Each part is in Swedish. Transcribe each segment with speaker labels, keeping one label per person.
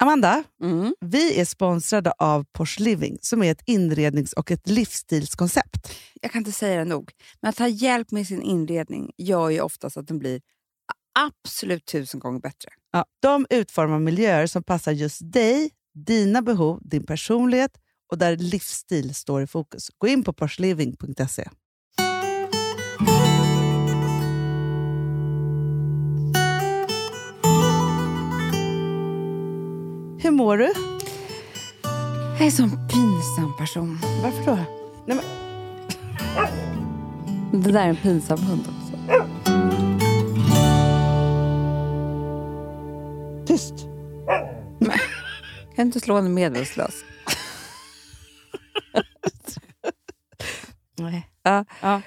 Speaker 1: Amanda,
Speaker 2: Mm.
Speaker 1: vi är sponsrade av Porsche Living som är ett inrednings och ett livsstilskoncept.
Speaker 2: Jag kan inte säga det nog. Men att ta hjälp med sin inredning gör ju oftast att den blir absolut tusen gånger bättre.
Speaker 1: Ja, de utformar miljöer som passar just dig, dina behov, din personlighet och där livsstil står i fokus. Gå in på porsliving.se. Hur mår du?
Speaker 2: Jag är en sån pinsam person.
Speaker 1: Varför då? Nej, men,
Speaker 2: Det där är en pinsam hund också.
Speaker 1: tyst!
Speaker 2: Kan du inte slå en medvetslös?
Speaker 1: Nej.
Speaker 2: Ja.
Speaker 1: Ja.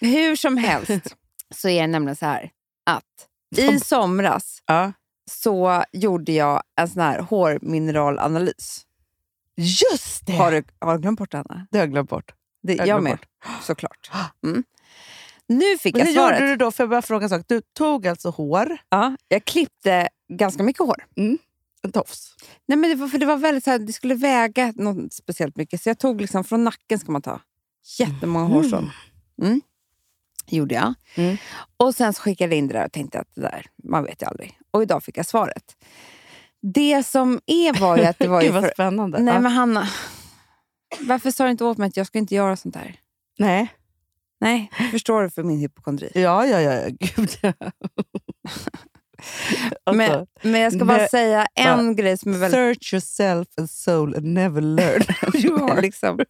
Speaker 2: Hur som helst så är det nämligen så här att i somras
Speaker 1: Ja.
Speaker 2: så gjorde jag en sån här hårmineralanalys.
Speaker 1: Just det!
Speaker 2: Har du, har du glömt bort den? Anna?
Speaker 1: Det har jag glömt bort.
Speaker 2: Det,
Speaker 1: Jag
Speaker 2: jag
Speaker 1: glömde
Speaker 2: med, såklart. Mm. Nu fick
Speaker 1: Men
Speaker 2: jag
Speaker 1: hur gjorde
Speaker 2: svaret.
Speaker 1: du då? För jag bara fråga en sak. Du tog alltså hår,
Speaker 2: Ja, jag klippte ganska mycket hår.
Speaker 1: en tofs.
Speaker 2: Nej, men det, var, för det var väldigt så här, det skulle väga något speciellt mycket, så jag tog liksom från nacken ska man ta jättemånga hårstrån. Mm. gjorde jag.
Speaker 1: Mm.
Speaker 2: Och Sen så skickade jag in det där och tänkte att det där, man vet ju aldrig. Och idag fick jag svaret. Det som är var ju att det var ju...
Speaker 1: Gud vad
Speaker 2: för,
Speaker 1: spännande.
Speaker 2: nej,
Speaker 1: Ja.
Speaker 2: men Hanna. Varför sa du inte åt mig att jag ska inte göra sånt där?
Speaker 1: nej.
Speaker 2: Nej, förstår du för min hypokondri?
Speaker 1: Ja, ja, ja. ja. Gud, ja. alltså,
Speaker 2: men, men jag ska bara
Speaker 1: nej,
Speaker 2: säga en grej som är väldigt...
Speaker 1: Search yourself and soul and never learn who you are.
Speaker 2: liksom.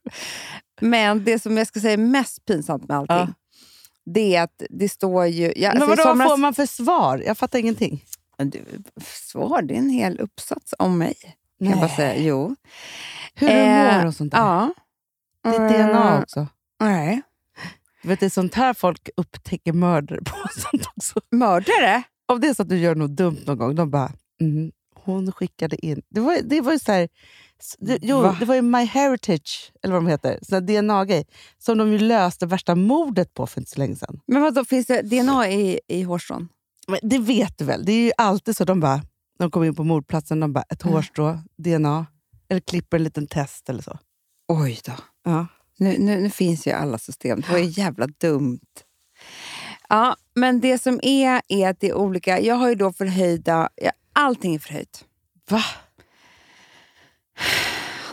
Speaker 2: Men det som jag ska säga är mest pinsamt med allting, det är att det står ju... Jag,
Speaker 1: Men
Speaker 2: alltså, i
Speaker 1: vadå, vad
Speaker 2: somras-
Speaker 1: får man för svar? Jag fattar ingenting.
Speaker 2: Men Du, svar, det är en hel uppsats om mig. Kan jag bara säga. Jo.
Speaker 1: Hur du
Speaker 2: Eh,
Speaker 1: mår och sånt där.
Speaker 2: Ja.
Speaker 1: Ditt DNA
Speaker 2: Mm,
Speaker 1: också.
Speaker 2: Nej.
Speaker 1: Du vet, det är sånt här folk upptäcker mördare på. och Sånt också.
Speaker 2: Mördare?
Speaker 1: Om det är så att du gör något dumt någon gång, de bara mm, “hon skickade in”. Det var, det var ju så här, s- det, jo,
Speaker 2: Va?
Speaker 1: det var ju My Heritage eller vad de heter, sån här DNA-grej, som de ju löste värsta mordet på för inte så länge sedan.
Speaker 2: Men vadå, finns det DNA i, i hårstrån?
Speaker 1: Men det vet du väl? Det är ju alltid så. De bara, de kommer in på mordplatsen, de bara “ett
Speaker 2: Mm.
Speaker 1: hårstrå, DNA” eller klipper en liten test eller så.
Speaker 2: Oj då.
Speaker 1: Ja.
Speaker 2: Nu, nu, nu finns ju alla system. Det var ju jävla dumt. Ja, men det som är, är att det är olika. Jag har ju då förhöjda... Ja, allting är förhöjt.
Speaker 1: Va?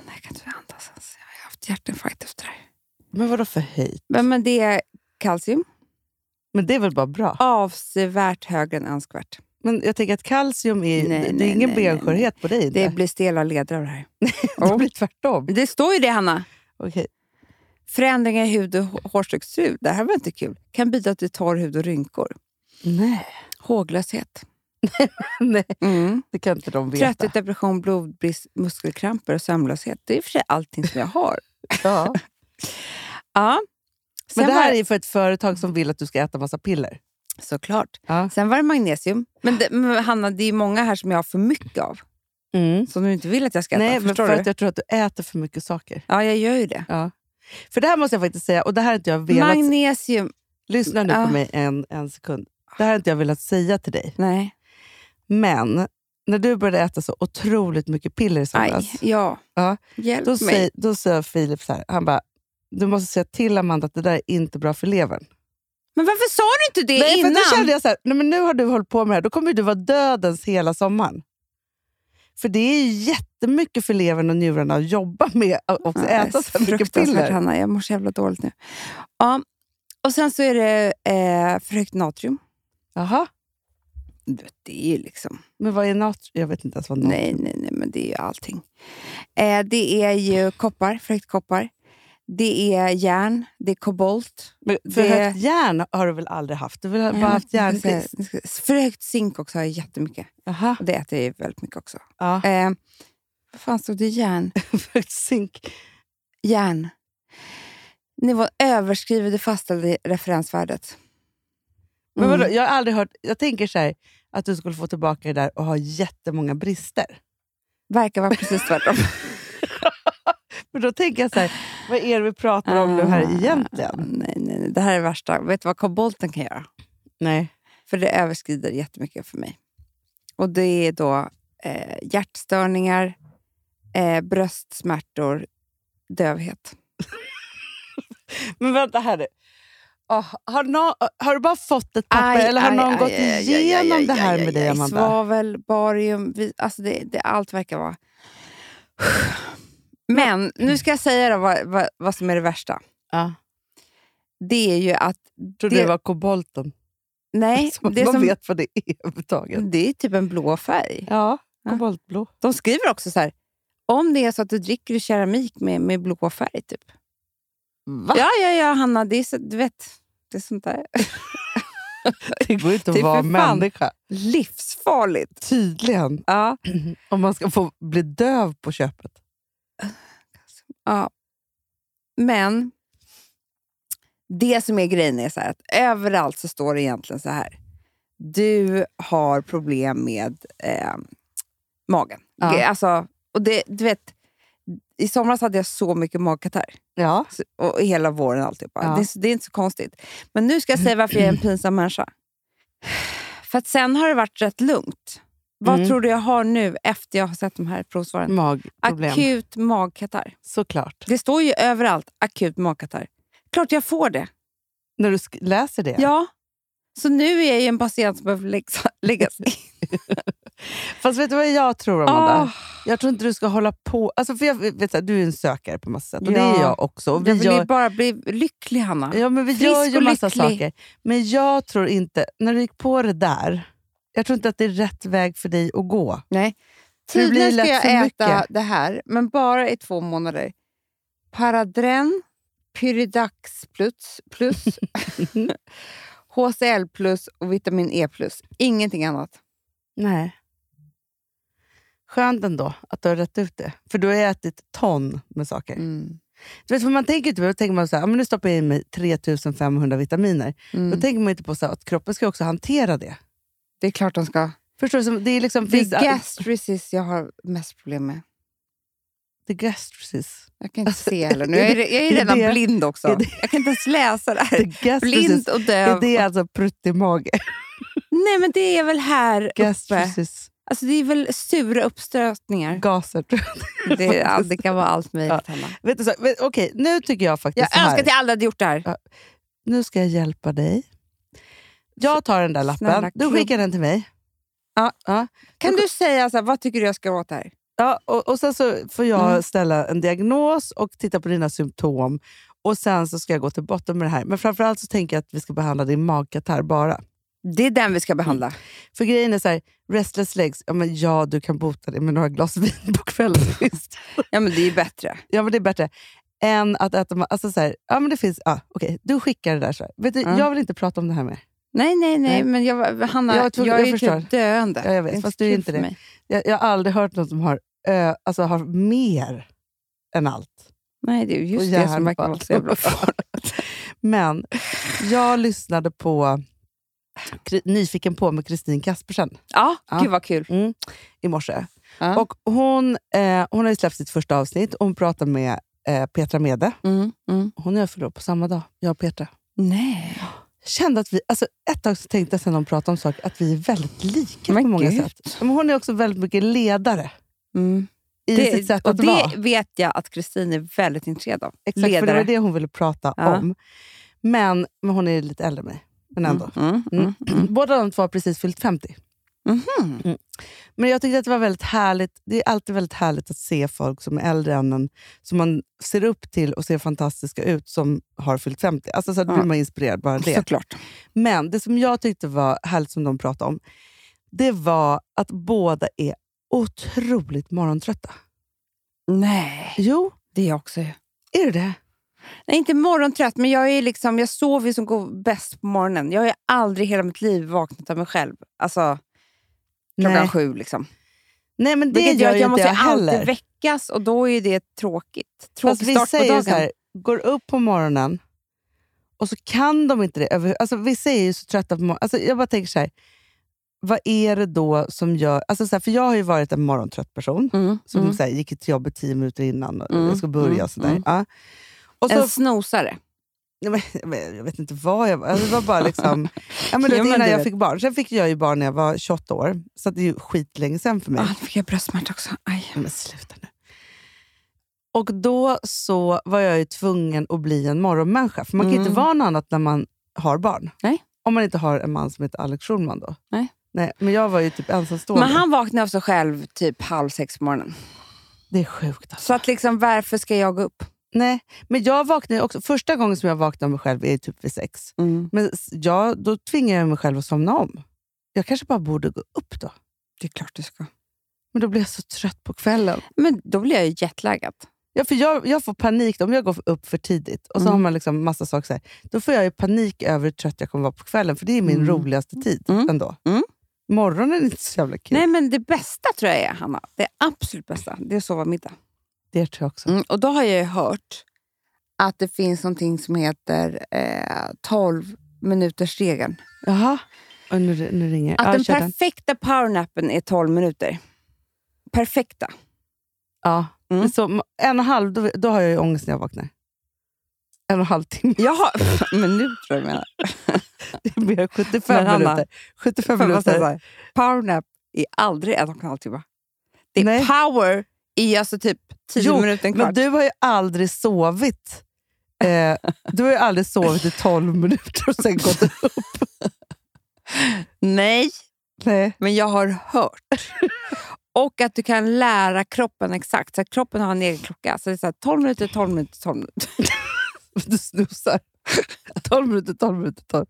Speaker 2: Nej, jag kan inte andas ens. Jag har haft hjärtinfarkt efter det här.
Speaker 1: Men vadå för höjd?
Speaker 2: Men, men det är kalcium.
Speaker 1: Men det är väl bara bra?
Speaker 2: Avsevärt högre än önskvärt.
Speaker 1: Men jag tänker att kalcium är,
Speaker 2: Nej,
Speaker 1: det är
Speaker 2: nej,
Speaker 1: ingen
Speaker 2: nej, nej,
Speaker 1: benskörhet på dig.
Speaker 2: Det
Speaker 1: Det,
Speaker 2: blir stela ledare av det här.
Speaker 1: det blir tvärtom.
Speaker 2: Det står ju det, Hanna.
Speaker 1: Okej.
Speaker 2: Förändringar i hud och hå- hårstruktur. Det här var inte kul. Kan bidra till torr hud och rynkor.
Speaker 1: Nej.
Speaker 2: Håglöshet.
Speaker 1: nej,
Speaker 2: Mm.
Speaker 1: det kan inte de veta.
Speaker 2: Trötthet, depression, blodbrist, muskelkramper och sömnlöshet. Det är i och för sig allting som jag har.
Speaker 1: Ja.
Speaker 2: Ja. Sen
Speaker 1: Men det här
Speaker 2: var,
Speaker 1: är ju för ett företag som vill att du ska äta massa piller.
Speaker 2: Såklart.
Speaker 1: Ja.
Speaker 2: Sen var det magnesium. Men, det, men Hanna, det är många här som jag har för mycket av. Som du inte vill att jag ska Mm. äta.
Speaker 1: Nej, men
Speaker 2: förstår
Speaker 1: för
Speaker 2: du?
Speaker 1: att jag tror att du äter för mycket saker.
Speaker 2: Ja, jag gör ju det.
Speaker 1: Ja. För det här måste jag faktiskt säga, och det här har inte jag velat...
Speaker 2: Magnesium.
Speaker 1: Lyssna nu
Speaker 2: Ah.
Speaker 1: på mig en, en sekund. Det här har inte jag velat säga till dig,
Speaker 2: Nej.
Speaker 1: men när du började äta så otroligt mycket piller i somras,
Speaker 2: Aj. Ja.
Speaker 1: Ja.
Speaker 2: Hjälp
Speaker 1: då,
Speaker 2: mig.
Speaker 1: säger, då säger Filip så här, han bara, du måste säga till Amanda att det där är inte bra för levern.
Speaker 2: Men varför sa du inte det
Speaker 1: Nej,
Speaker 2: innan?
Speaker 1: för då kände jag så här, nej, men nu har du hållit på med det här, då kommer ju du vara dödens hela sommaren. För det är ju jättemycket för levern och njurarna att jobba med och också
Speaker 2: Ja, det är
Speaker 1: äta så mycket
Speaker 2: fruktansvärt,
Speaker 1: piller.
Speaker 2: Hanna, jag mår så jävla dåligt nu. Ja. Och sen så är det eh, för högt natrium.
Speaker 1: Jaha,
Speaker 2: Du vet, Det är ju liksom...
Speaker 1: men vad är natrium? Jag vet inte ens vad natrium
Speaker 2: Nej, nej, nej, men det är ju allting. Eh, det är ju koppar, för högt koppar. Det är järn, det är kobolt.
Speaker 1: Men för
Speaker 2: det-
Speaker 1: högt järn har du väl aldrig haft? Du har väl bara haft
Speaker 2: Jag ska-
Speaker 1: järnbrist?
Speaker 2: jag ska- För högt zink också har jag jättemycket.
Speaker 1: Jaha.
Speaker 2: Och det äter jag ju väldigt mycket också.
Speaker 1: Ja.
Speaker 2: Eh, vad fan stod det? Järn.
Speaker 1: För högt zink.
Speaker 2: järn. Nivån överskriver det fastställda referensvärdet.
Speaker 1: Men vadå,
Speaker 2: Mm.
Speaker 1: jag har aldrig hört... Jag tänker så här, att du skulle få tillbaka det där och ha jättemånga brister.
Speaker 2: Verkar vara precis tvärtom.
Speaker 1: Men då tänker jag så här, vad är det vi pratar om nu här
Speaker 2: Ah,
Speaker 1: egentligen?
Speaker 2: nej, nej, nej, det här är det värsta. Vet du vad kobolten kan göra?
Speaker 1: Nej.
Speaker 2: För det överskrider jättemycket för mig. Och det är då eh, hjärtstörningar, eh, bröstsmärtor, dövhet.
Speaker 1: Men vänta här nu. Åh, har, nå- har du bara fått ett papper
Speaker 2: Aj,
Speaker 1: eller har
Speaker 2: aj,
Speaker 1: någon
Speaker 2: aj,
Speaker 1: gått
Speaker 2: aj, aj, aj,
Speaker 1: igenom
Speaker 2: aj,
Speaker 1: det
Speaker 2: aj,
Speaker 1: här
Speaker 2: aj,
Speaker 1: med dig,
Speaker 2: aj,
Speaker 1: Amanda?
Speaker 2: Svavel, barium, vi, alltså det, det, allt verkar vara... Men nu ska jag säga då vad, vad, vad som är det värsta.
Speaker 1: Ja.
Speaker 2: Det är ju att...
Speaker 1: Tror
Speaker 2: Det-
Speaker 1: det var kobolten?
Speaker 2: Nej,
Speaker 1: Som
Speaker 2: det,
Speaker 1: man
Speaker 2: som,
Speaker 1: vet vad det är överhuvudtaget.
Speaker 2: det är typ en blå färg.
Speaker 1: Ja,
Speaker 2: Ja.
Speaker 1: koboltblå.
Speaker 2: De skriver också så här, om det är så att du dricker i keramik med, med blå färg. Typ.
Speaker 1: Va?
Speaker 2: Ja, ja, ja, Hanna, det är, så, du vet, det är sånt där.
Speaker 1: Det går inte
Speaker 2: Det är
Speaker 1: att vara
Speaker 2: för fan-
Speaker 1: människa.
Speaker 2: Livsfarligt.
Speaker 1: Tydligen.
Speaker 2: Ja.
Speaker 1: Om man ska få bli döv på köpet.
Speaker 2: Ja. Men det som är grejen är så här att överallt så står det egentligen så här. Du har problem med eh, magen.
Speaker 1: Ja.
Speaker 2: Alltså, och det, du vet, I somras hade jag så mycket magkatarr.
Speaker 1: Ja.
Speaker 2: Så- Och hela våren alltihopa.
Speaker 1: Ja.
Speaker 2: Det, är så- det är inte så konstigt. Men nu ska jag säga varför jag är en pinsam människa. För att sen har det varit rätt lugnt. Vad
Speaker 1: Mm.
Speaker 2: tror du jag har nu efter jag har sett de här provsvaren?
Speaker 1: Magproblem.
Speaker 2: Akut magkatarr.
Speaker 1: Såklart.
Speaker 2: Det står ju överallt akut magkatarr. Klart jag får det.
Speaker 1: När du sk- läser det.
Speaker 2: Ja. Så nu är jag ju en patient som behöver läggas, läggas in.
Speaker 1: Fast vet du vad jag tror, Amanda?
Speaker 2: Ah,
Speaker 1: Jag tror inte du ska hålla på... Alltså för jag vet, så här, du är en sökare på massa sätt och det
Speaker 2: Ja.
Speaker 1: är jag också. Och
Speaker 2: jag
Speaker 1: vi
Speaker 2: vill
Speaker 1: gör-
Speaker 2: ju bara bli lycklig, Hanna.
Speaker 1: Ja, men vi
Speaker 2: Frisk
Speaker 1: gör ju
Speaker 2: och
Speaker 1: massa
Speaker 2: lycklig.
Speaker 1: saker. Men jag tror inte, när du gick på det där, jag tror inte att det är rätt väg för dig att gå. det blir
Speaker 2: Tydligen ska
Speaker 1: lätt
Speaker 2: jag
Speaker 1: för
Speaker 2: äta
Speaker 1: mycket.
Speaker 2: det här, men bara i två månader. Paradren, Pyridax plus, plus HCl plus och vitamin E plus. Ingenting annat.
Speaker 1: Nej. Skönt ändå att du har rätt ut det. För du har ätit ton med saker.
Speaker 2: Mm.
Speaker 1: Du vet, för man tänker inte på det. Då tänker man så här, "Ja, men nu stoppar jag i mig 3500 vitaminer. Då
Speaker 2: Mm.
Speaker 1: tänker man inte på så här, att kroppen ska ju också hantera det.
Speaker 2: Det är klart de ska.
Speaker 1: Förstår du? Som- Det är liksom...
Speaker 2: Det
Speaker 1: finns-
Speaker 2: är gastricis jag har mest problem med.
Speaker 1: Det är gastricis.
Speaker 2: Jag kan inte
Speaker 1: Alltså,
Speaker 2: se heller. Nu.
Speaker 1: är
Speaker 2: Jag, är,
Speaker 1: det-
Speaker 2: jag
Speaker 1: är
Speaker 2: är redan
Speaker 1: det-
Speaker 2: blind också.
Speaker 1: är det-
Speaker 2: Jag kan inte ens läsa det
Speaker 1: Det
Speaker 2: här.
Speaker 1: är gastricis.
Speaker 2: Blind och
Speaker 1: Är
Speaker 2: döv.
Speaker 1: det alltså prutt i mage?
Speaker 2: Nej, men det är väl här uppe.
Speaker 1: Gastricis.
Speaker 2: Alltså, det är väl sura uppstötningar.
Speaker 1: Gaser. tror jag.
Speaker 2: Det, ja, det kan vara allt möjligt, Hanna.
Speaker 1: Vet du, så, vet, okej, nu tycker jag faktiskt
Speaker 2: Jag
Speaker 1: så här.
Speaker 2: önskar att jag aldrig hade gjort det här.
Speaker 1: Nu ska jag hjälpa dig. Jag tar den där lappen.
Speaker 2: Snälla,
Speaker 1: du
Speaker 2: klubb-
Speaker 1: skickar den till mig. Ja, ja.
Speaker 2: Kan du säga så här, vad tycker du jag ska åt här?
Speaker 1: ja och, och Sen så får jag
Speaker 2: Mm.
Speaker 1: ställa en diagnos och titta på dina symptom. Och Sen så ska jag gå till botten med det här. Men framförallt så tänker jag att vi ska behandla din magkatarr bara.
Speaker 2: Det är den vi ska behandla.
Speaker 1: För grejen är så här, restless legs, ja, men ja du kan bota det med några glas vin på kvällen. Visst.
Speaker 2: Ja, men det är ju bättre.
Speaker 1: Ja men det är bättre. Än att äta... ma- Alltså så här, ja men det finns... Ja, okej, du skickar det där. Så här. Vet du,
Speaker 2: Ja.
Speaker 1: Jag vill inte prata om det här mer.
Speaker 2: Nej, nej, nej.
Speaker 1: Nej.
Speaker 2: Men jag, Hanna,
Speaker 1: Jag
Speaker 2: jag,
Speaker 1: var tvungen-
Speaker 2: är
Speaker 1: jag
Speaker 2: ju
Speaker 1: förstår.
Speaker 2: typ döende.
Speaker 1: Ja, jag vet,
Speaker 2: Det
Speaker 1: fast
Speaker 2: så
Speaker 1: du är
Speaker 2: kul
Speaker 1: inte
Speaker 2: för
Speaker 1: det.
Speaker 2: mig.
Speaker 1: Jag, jag har aldrig hört någon som har, ö, alltså har mer än allt.
Speaker 2: Nej, det är ju
Speaker 1: Och
Speaker 2: just det som verkar
Speaker 1: hjärnbarn.
Speaker 2: vara så jävla farligt.
Speaker 1: Men jag lyssnade på Kri- Nyfiken på med Kristin Kaspersen
Speaker 2: Ja,
Speaker 1: Ja.
Speaker 2: gud vad kul.
Speaker 1: i morse.
Speaker 2: Mm. Ja.
Speaker 1: Och hon, eh, hon har ju släppt sitt första avsnitt och hon pratar med eh, Petra Mede.
Speaker 2: Mm, mm.
Speaker 1: Hon och jag fyller år på samma dag, jag och Petra.
Speaker 2: Nej.
Speaker 1: Jag kände att vi, alltså ett tag så tänkte jag sen när hon pratade om saker att vi är väldigt lika
Speaker 2: Men
Speaker 1: på många
Speaker 2: gud.
Speaker 1: sätt. Men hon är också väldigt mycket ledare
Speaker 2: Mm.
Speaker 1: i sitt sätt
Speaker 2: och
Speaker 1: att
Speaker 2: det
Speaker 1: vara.
Speaker 2: vet jag att Kristin är väldigt intresserad av.
Speaker 1: Exakt, för det
Speaker 2: Ledare.
Speaker 1: var det hon ville prata
Speaker 2: Ja.
Speaker 1: om. Men, men hon är lite äldre än mig. Men ändå.
Speaker 2: Mm, mm, mm.
Speaker 1: Båda de två har precis fyllt 50.
Speaker 2: Mhm.
Speaker 1: Men jag tyckte att det var väldigt härligt. Det är alltid väldigt härligt att se folk som är äldre än en, som man ser upp till och ser fantastiska ut, som har fyllt 50. Alltså så att
Speaker 2: Ja.
Speaker 1: blir man inspirerad bara av det.
Speaker 2: Såklart.
Speaker 1: Men det som jag tyckte var härligt som de pratade om, det var att båda är otroligt morgontrötta.
Speaker 2: Nej,
Speaker 1: Jo,
Speaker 2: det är jag också. ju.
Speaker 1: är du det?
Speaker 2: Nej, inte morgontrött, men jag, är liksom, jag sover ju som går bäst på morgonen. Jag har ju aldrig i hela mitt liv vaknat av mig själv. Alltså klockan
Speaker 1: Nej.
Speaker 2: sju. Liksom.
Speaker 1: Nej, men det
Speaker 2: Vilket gör
Speaker 1: gör
Speaker 2: att
Speaker 1: ju
Speaker 2: jag
Speaker 1: inte
Speaker 2: måste
Speaker 1: jag
Speaker 2: alltid
Speaker 1: heller.
Speaker 2: väckas och då är det tråkigt.
Speaker 1: Fast
Speaker 2: Tråkig
Speaker 1: vi
Speaker 2: start på
Speaker 1: säger
Speaker 2: dagen.
Speaker 1: så här, går upp på morgonen och så kan de inte det. Över, alltså, vissa är ju så trötta på morgonen. Alltså, jag bara tänker så här, vad är det då som gör... Alltså, så här, för jag har ju varit en morgontrött person
Speaker 2: Mm,
Speaker 1: som
Speaker 2: mm.
Speaker 1: så här, gick till jobbet tio minuter innan och
Speaker 2: Mm,
Speaker 1: jag ska börja.
Speaker 2: mm,
Speaker 1: och så där.
Speaker 2: mm.
Speaker 1: Ja. Och så,
Speaker 2: En snosare.
Speaker 1: Nej, men- men Jag vet inte vad jag var. Alltså, det var bara liksom, ja, men det,
Speaker 2: Ja, men
Speaker 1: innan
Speaker 2: du
Speaker 1: jag
Speaker 2: vet.
Speaker 1: fick barn. Sen fick jag ju barn när jag var 28 år, så att det är ju skitlänge sen för mig.
Speaker 2: Ah, nu fick jag bröstsmärta också. Aj.
Speaker 1: Nej, Men sluta nu. Och då så var jag ju tvungen att bli en morgonmänniska. För man kan
Speaker 2: Mm.
Speaker 1: inte vara något annat när man har barn.
Speaker 2: Nej.
Speaker 1: Om man inte har en man som heter Alex Schulman då.
Speaker 2: Nej.
Speaker 1: Nej, men jag var ju typ ensamstående.
Speaker 2: Men han vaknade av sig själv typ halv sex på morgonen.
Speaker 1: Det är sjukt alltså.
Speaker 2: Så att liksom, varför ska jag gå upp?
Speaker 1: Nej, men jag vaknade ju också. Första gången som jag vaknade av mig själv är ju typ vid sex. Men s- jag, då tvingar jag mig själv att somna om. Jag kanske bara borde gå upp då.
Speaker 2: Det är klart du ska.
Speaker 1: Men då blir jag så trött på kvällen.
Speaker 2: Men då blir jag ju jetlaggad.
Speaker 1: Ja, för jag, jag får panik då, om jag går upp för tidigt och så
Speaker 2: Mm.
Speaker 1: har man liksom massa saker. Så här, då får jag ju panik över hur trött jag kommer vara på kvällen, för det är min
Speaker 2: Mm.
Speaker 1: roligaste tid
Speaker 2: Mm.
Speaker 1: ändå.
Speaker 2: Mm.
Speaker 1: Morgonen är inte så jävla kul.
Speaker 2: Nej, men det bästa tror jag är, Hanna, det absolut bästa, det är att sova middag.
Speaker 1: Det tror jag också.
Speaker 2: Mm, och då har jag ju hört att det finns någonting som heter eh, 12 minuters regeln.
Speaker 1: Jaha, och nu, nu ringer
Speaker 2: Att
Speaker 1: Ja,
Speaker 2: den
Speaker 1: kör den.
Speaker 2: perfekta powernappen är 12 minuter. Perfekta.
Speaker 1: Ja.
Speaker 2: Mm.
Speaker 1: Men Så, m- en och en halv, då, då har jag ju ångest när jag vaknar. En och en halv timme.
Speaker 2: Jaha, men nu tror jag menar.
Speaker 1: Det blir 75
Speaker 2: Men Hanna,
Speaker 1: minuter. 75
Speaker 2: Fan, vad säger
Speaker 1: minuter.
Speaker 2: jag? Powernap är aldrig en och en halv timme. Det är
Speaker 1: Nej.
Speaker 2: power i alltså typ 10
Speaker 1: Jo,
Speaker 2: minuter, en
Speaker 1: Men
Speaker 2: kvart.
Speaker 1: du har ju aldrig sovit. Eh, du har ju aldrig sovit i 12 minuter och sen gått upp.
Speaker 2: Nej,
Speaker 1: Nej.
Speaker 2: men jag har hört. Och att du kan lära kroppen exakt. Så att kroppen har en egen klocka. Så det är så här 12 minuter, 12 minuter, 12 minuter.
Speaker 1: Du snusar. 12 minuter, 12 minuter, 12.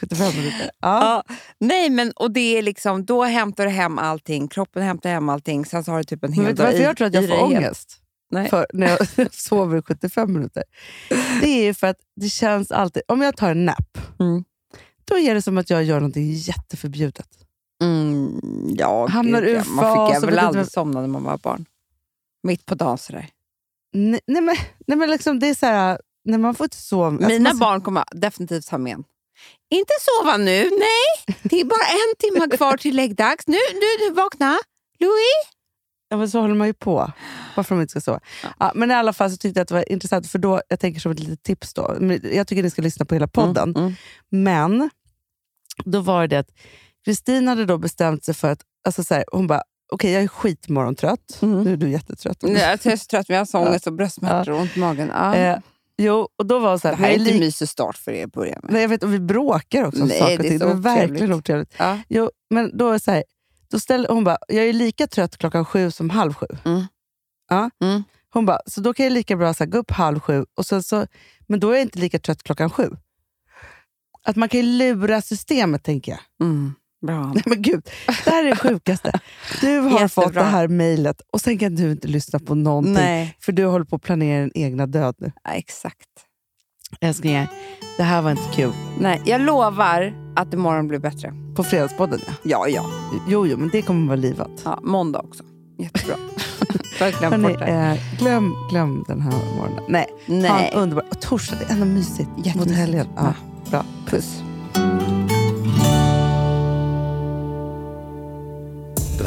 Speaker 1: 75 minuter. Ja.
Speaker 2: Ja. Nej, men och det är liksom, då hämtar du hem allting. Kroppen hämtar hem allting. Sen så har du typ en hel
Speaker 1: Men vet du
Speaker 2: dag
Speaker 1: varför
Speaker 2: i-
Speaker 1: jag tror att
Speaker 2: i
Speaker 1: jag får
Speaker 2: det helt.
Speaker 1: ångest?
Speaker 2: Nej.
Speaker 1: För när jag sover i 75 minuter. Det är ju för att det känns alltid... Om jag tar en nap,
Speaker 2: Mm.
Speaker 1: då är det som att jag gör någonting jätteförbjudet.
Speaker 2: Mm, ja,
Speaker 1: Hamnar
Speaker 2: gud,
Speaker 1: ur
Speaker 2: ja. Man
Speaker 1: fas
Speaker 2: fick
Speaker 1: och
Speaker 2: jag
Speaker 1: vet
Speaker 2: väl
Speaker 1: inte
Speaker 2: aldrig Alltså,
Speaker 1: vad-
Speaker 2: somna när man var barn. Mitt på dagen sådär.
Speaker 1: Nej, nej, men, nej men liksom det är så här... Nej, man får inte sova. Alltså,
Speaker 2: Mina
Speaker 1: man-
Speaker 2: barn kommer definitivt ha med en. Inte sova nu, nej. Det är bara en timme kvar till läggdags. Nu, nu, nu vakna. Louis.
Speaker 1: Ja, men så håller man ju på. Varför de inte ska sova. Ja, men i alla fall så tyckte jag att det var intressant, för då, jag tänker som ett litet tips då. Men Jag tycker ni ska lyssna på hela podden.
Speaker 2: Mm,
Speaker 1: Men då var det att Kristin hade då bestämt sig för att, alltså så här, hon bara, okej jag är skitmorgontrött.
Speaker 2: Mm.
Speaker 1: Nu är du jättetrött.
Speaker 2: mm. Nej, alltså, jag är så trött, men jag har så ångest och bröstsmärtor och ont i magen. Ja.
Speaker 1: Eh, jo, och då var hon så
Speaker 2: det
Speaker 1: här,
Speaker 2: här
Speaker 1: jag,
Speaker 2: är
Speaker 1: är
Speaker 2: inte
Speaker 1: li-
Speaker 2: en mysig start för er att börja med.
Speaker 1: Nej, jag vet, och vi bråkar också om
Speaker 2: Nej,
Speaker 1: saker och
Speaker 2: det är
Speaker 1: ting.
Speaker 2: så
Speaker 1: Det var verkligen
Speaker 2: otrevligt.
Speaker 1: otrevligt.
Speaker 2: Ja.
Speaker 1: Jo, men då är det så här, då ställde, hon bara, jag är lika trött klockan sju som halv sju.
Speaker 2: Mm.
Speaker 1: Ja.
Speaker 2: Mm.
Speaker 1: Hon bara, så då kan jag lika bra så här, gå upp halv sju, och sen så, men då är jag inte lika trött klockan sju. Att man kan ju lura systemet, tänker jag.
Speaker 2: Mm. Bra.
Speaker 1: Nej, men gud, det här är det sjukaste. Du har
Speaker 2: Jättebra.
Speaker 1: fått det här mejlet och sen kan du inte lyssna på någonting.
Speaker 2: Nej,
Speaker 1: För du håller på att planera din egna död nu.
Speaker 2: ja, exakt.
Speaker 1: Älsklingar, det här var inte kul.
Speaker 2: Nej, jag lovar att imorgon blir bättre.
Speaker 1: På Fredagspodden, ja.
Speaker 2: Ja, ja.
Speaker 1: Jo, jo, men det kommer vara livat.
Speaker 2: ja måndag också. Jättebra. Verkligen
Speaker 1: Hörrni,
Speaker 2: bort det.
Speaker 1: eh, glöm, glöm den här morgonen. Nej,
Speaker 2: Nej.
Speaker 1: Fan, underbart. Och torsdag, det är ändå mysigt. Mot
Speaker 2: Jättemysigt.
Speaker 1: helgen. Ja,
Speaker 2: Ja.
Speaker 1: bra.
Speaker 2: Puss.
Speaker 3: Den